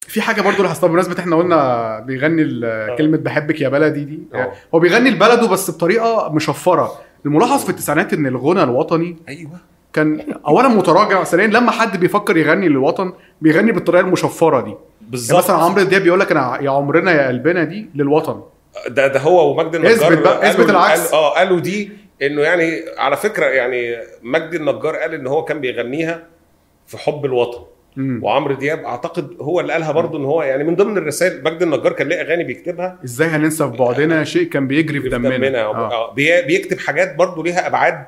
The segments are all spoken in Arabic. في حاجه برضو لاحظتها بمناسبه احنا قلنا بيغني ال- كلمه بحبك يا بلدي دي يعني آه. هو بيغني لبلده بس بطريقه مشفره الملاحظ في التسعينات ان الغنى الوطني ايوه كان اولا متراجع ثانيا لما حد بيفكر يغني للوطن بيغني بالطريقه المشفره دي يعني بالظبط مثلا عمرو دياب بيقول لك انا يا عمرنا يا قلبنا دي للوطن ده ده هو ومجد النجار اثبت بقى، قالوا- اثبت العكس. قالوا- اه قالوا دي انه يعني على فكره يعني مجد النجار قال ان هو كان بيغنيها في حب الوطن مم. وعمرو دياب اعتقد هو اللي قالها برضو ان هو يعني من ضمن الرسائل مجد النجار كان ليه اغاني بيكتبها ازاي هننسى في بعدنا شيء كان بيجري في دمنا, آه. آه. بي- بيكتب حاجات برضو ليها ابعاد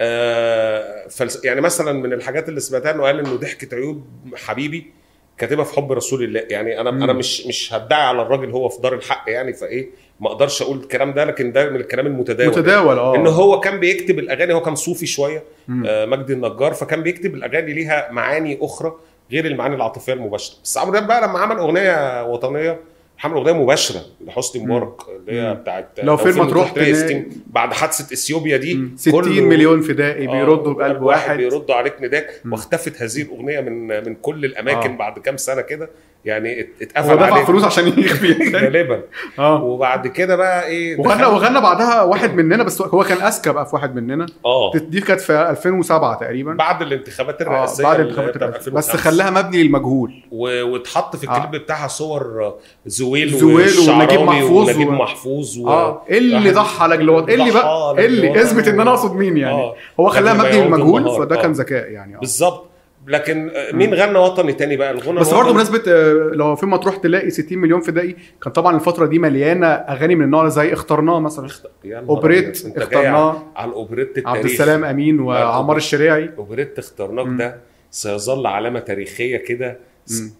آه فلس... يعني مثلا من الحاجات اللي سمعتها انه قال انه ضحكه عيوب حبيبي كاتبها في حب رسول الله يعني انا مم. انا مش مش هدعي على الراجل هو في دار الحق يعني فايه ما اقدرش اقول الكلام ده لكن ده من الكلام المتداول متداول اه ان هو كان بيكتب الاغاني هو كان صوفي شويه مم. آه، مجدي النجار فكان بيكتب الاغاني ليها معاني اخرى غير المعاني العاطفيه المباشره بس عمرو دياب بقى لما عمل اغنيه وطنيه عمل اغنيه مباشره لحسني مم. مبارك اللي هي مم. بتاعت لو فين ما تروح تلاقي تلاقي- ستين- بعد حادثه اثيوبيا دي مم. 60 كله- مليون فدائي آه، بيردوا بقلب واحد بيردوا عليك نداك مم. واختفت هذه الاغنيه من من كل الاماكن آه. بعد كام سنه كده يعني ات- هو اتقفل دفع عليها فلوس عشان يخفي غالبا اه وبعد كده بقى ايه وغنى دخل- وغنى بعدها واحد مننا بس هو كان اذكى بقى في واحد مننا اه دي كانت في 2007 تقريبا بعد الانتخابات آه، الرئاسيه بعد اللي الانتخابات بتاع الرئاسية. بس 2005. خلاها مبني للمجهول و- واتحط في آه. الكليب بتاعها صور زويل, زويل ونجيب والشعراوي محفوظ ونجيب و- محفوظ و... اه ايه اللي واحد ضحى لاجل الوطن ايه اللي بقى ضحى ايه اللي للوطن. اثبت ان انا اقصد مين يعني آه. هو خلاها لما مبني يعود للمجهول النهار. فده آه. كان ذكاء يعني آه. بالظبط لكن آه، مين غنى وطني تاني بقى الغنى بس برضه الوطني- بمناسبه آه، لو فين ما تروح تلاقي 60 مليون فدائي كان طبعا الفتره دي مليانه اغاني من النوع اللي زي اخترناه مثلا يا نهار اوبريت أبيض، أنت جاي على- اخترناه على الاوبريت التاريخ عبد السلام امين وعمار الشريعي اوبريت مم. اخترناك ده سيظل علامه تاريخيه كده س- مم.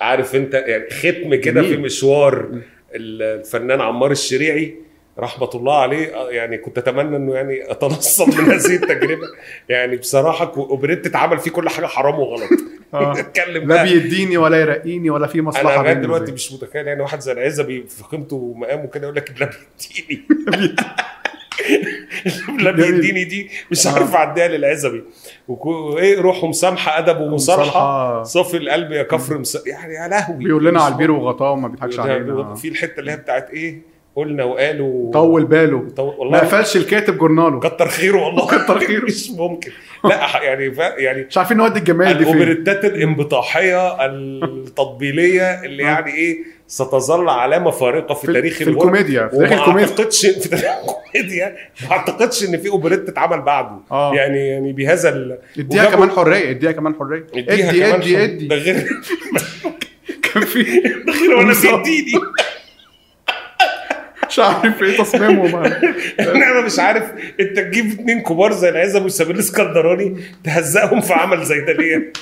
عارف انت يعني ختم كده جميل. في مشوار مم. الفنان عمار الشريعي رحمه الله عليه آه، يعني كنت اتمنى انه يعني اتنصل من هذه التجربه يعني بصراحه كو- اوبريت اتعمل فيه كل حاجه حرام وغلط آه. اتكلم لا بقى بيديني ولا يرقيني ولا في انا مصلحه لغايه بيني دلوقتي وبينه. مش متخيل يعني واحد زي العزبي في قيمته ومقامه كده يقول لك لا بيديني لا جميل. بيديني دي مش آه. عارف اعديها للعزبي إيه، وايه روح مسامحه ادب ومصالحه مصالحة صافي القلب يا كفر مس... يعني يا لهوي بيقول لنا مش على البير ممكن. وغطاه وما بيضحكش بيقول لنا علينا آه. في الحته اللي هي بتاعت ايه قلنا وقالوا طول باله طو... ما والله قفلش الكاتب جورناله كتر خيره والله كتر خيره. مش ممكن لا ح- يعني ف... يعني مش عارفين نودي الجمال دي فين الاوبريتات الانبطاحيه التطبيليه اللي آه. يعني ايه ستظل علامه فارقه في, في, تاريخ في الغنى. الكوميديا في تاريخ وما الكوميديا اعتقدش في تاريخ الكوميديا ما اعتقدش ان في اوبريت اتعمل بعده اه يعني يعني يعني بهذا ال... اديها وجابوا- كمان حريه اديها كمان حريه اديها ادي كمان ادي شوية. ادي ده غير كان في ده غير ولا بالظبط. بيديني مش عارف ايه تصميمهم أنا. انا مش عارف انت تجيب اتنين كبار زي العزب وسمير الاسكندراني تهزقهم في عمل زي ده ليه؟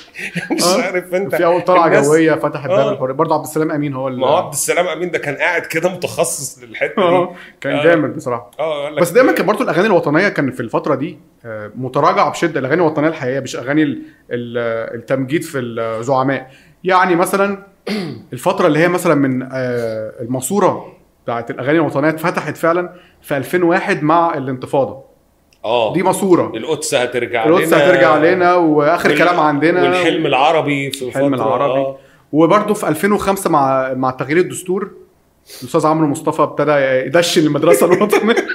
مش آه. عارف انت في اول طلعه الناس- جويه فتحت باب آه. الحريه برضه عبد السلام امين هو اللي ما هو عبد السلام امين ده كان قاعد كده متخصص للحته دي آه، كان آه. جامد بصراحه اه قال لك- بس دايما كان برضه الاغاني الوطنيه كان في الفتره دي آه، متراجعه بشده الاغاني الوطنيه الحقيقيه مش اغاني ال- ال- التمجيد في الزعماء يعني مثلا الفتره اللي هي مثلا من آه، الماسوره بتاعت الاغاني الوطنيه اتفتحت فعلا في 2001 مع الانتفاضه اه دي ماسوره القدس هترجع لنا القدس هترجع علينا واخر وال- كلام عندنا والحلم العربي في الحلم فترة، العربي. آه. وبرده في 2005 مع مع تغيير الدستور الاستاذ عمرو مصطفى ابتدى يدشن المدرسه الوطنيه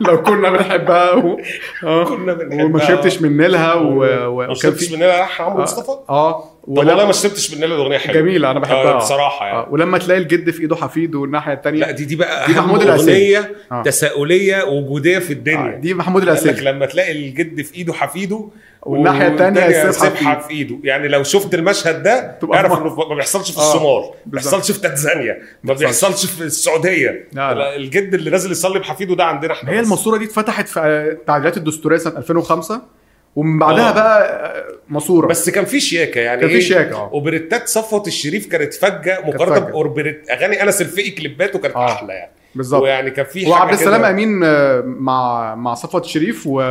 لو كنا بنحبها و... آه. كنا بنحبها وما شربتش من نيلها و... و... ما شربتش مننا راح عمرو مصطفى اه, آه. طب والله ولما... ما شربتش مننا الاغنيه حلوه جميله انا آه، بحبها بصراحه يعني آه. ولما تلاقي الجد في ايده حفيد والناحيه لا الثانيه دي دي بقى دي أهم محمود العسيلي. اغنيه آه. تساؤليه وجوديه في الدنيا يعني دي محمود قال لك العسيلي لما تلاقي الجد في ايده حفيده والناحية التانية سيبها في سبحه في ايده يعني لو شفت المشهد ده تبقى اعرف في- انه ما بيحصلش في آه، الصومال ما بالظبط. بيحصلش في تنزانيا ما بيحصلش في السعوديه لا، لا. الجد اللي نازل يصلي بحفيده ده عندنا احنا هي بس. الماسوره دي اتفتحت في آه، التعديلات الدستوريه سنه 2005 ومن بعدها آه. بقى آه، ماسوره بس كان في شياكه يعني كان في إيه؟ شياكة، آه. اوبريتات صفوت الشريف كانت فجه مقارنه فجة. باوبريت اغاني انس الفقي كليباته كانت آه. احلى يعني بالظبط ويعني كان في حاجة وعبد السلام كده- امين آه، مع مع صفوت شريف و...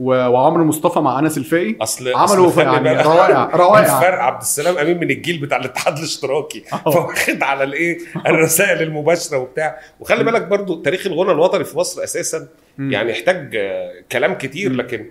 و... وعمرو مصطفى مع انس الفقي اصل عملوا أصل خلي يعني بالك- روائع روائع الفرق عبد السلام امين من الجيل بتاع الاتحاد الاشتراكي أهو. فواخد على الايه الرسائل المباشره وبتاع وخلي بالك برضو تاريخ الغنى الوطني في مصر اساسا مم. يعني يحتاج آه، يعني كلام كتير مم. لكن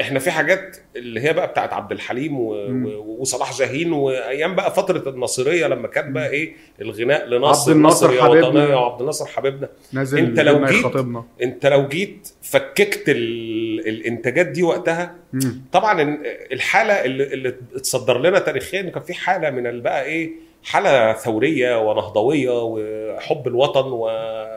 احنا في حاجات اللي هي بقى بتاعت عبد الحليم و... مم. و... وصلاح جاهين وايام بقى فتره النصريه لما كان بقى ايه الغناء لنصر عبد الناصر نصر يا حبيبنا. وطنية وعبد الناصر حبيبنا نازل أنت لو لنا جيت- يخاطبنا انت لو جيت فككت ال... الانتاجات دي وقتها مم. طبعا إن- الحاله اللي, اللي اتصدر لنا تاريخيا كان في حاله من ال- بقى ايه حاله ثوريه ونهضويه وحب الوطن و...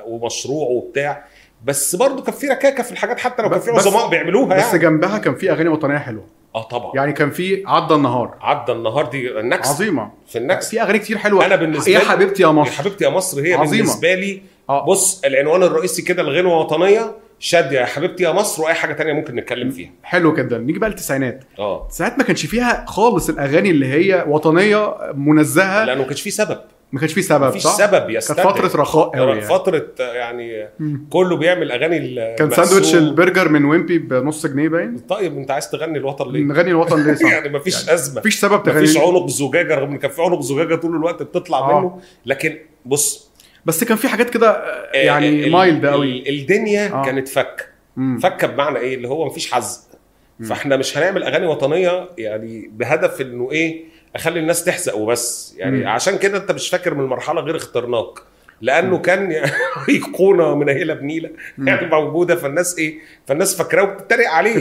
ومشروع وبتاع بس برضه كان في ركاكه في الحاجات حتى لو كان في بس- عظماء بيعملوها بس يعني جنبها كان في اغاني وطنيه حلوه اه طبعا يعني كان في عدى النهار عدى النهار دي النكس عظيمه في النكس في اغاني كتير حلوه أنا بالنسبة يا لي- حبيبتي يا يا مصر حبيبتي يا مصر هي عظيمة. بالنسبه لي آه. بص العنوان الرئيسي كده الغنوه وطنيه شاد يا حبيبتي يا مصر واي حاجه تانية ممكن نتكلم فيها حلو جدا نيجي بقى للتسعينات اه ساعات ما كانش فيها خالص الاغاني اللي هي وطنيه منزهه لانه ما كانش في سبب ما كانش فيه سبب مفيش صح سبب كانت يستدعي فتره رخاء قوي يعني. يعني. فترة يعني مم. كله بيعمل اغاني ال- كان المقسوم. ساندوتش البرجر من ويمبي بنص جنيه باين طيب انت عايز تغني الوطن ليه؟ نغني الوطن ليه صح يعني مفيش ازمه مفيش سبب مفيش تغني عنق زجاجه رغم ان كان في عنق زجاجه طول الوقت بتطلع آه. منه لكن بص بس كان في حاجات كده آه، آه، يعني ال- مايلد ال- قوي الدنيا آه. كانت فك مم. فك بمعنى ايه اللي هو مفيش حزق مم. فاحنا مش هنعمل اغاني وطنيه يعني بهدف انه ايه اخلي الناس تحزق وبس يعني مم. عشان كده انت مش فاكر من مرحله غير اخترناك لانه كان يعني ايقونه منيله بنيله مم. يعني موجوده فالناس ايه فالناس إيه؟ فاكراه وبتتريق عليه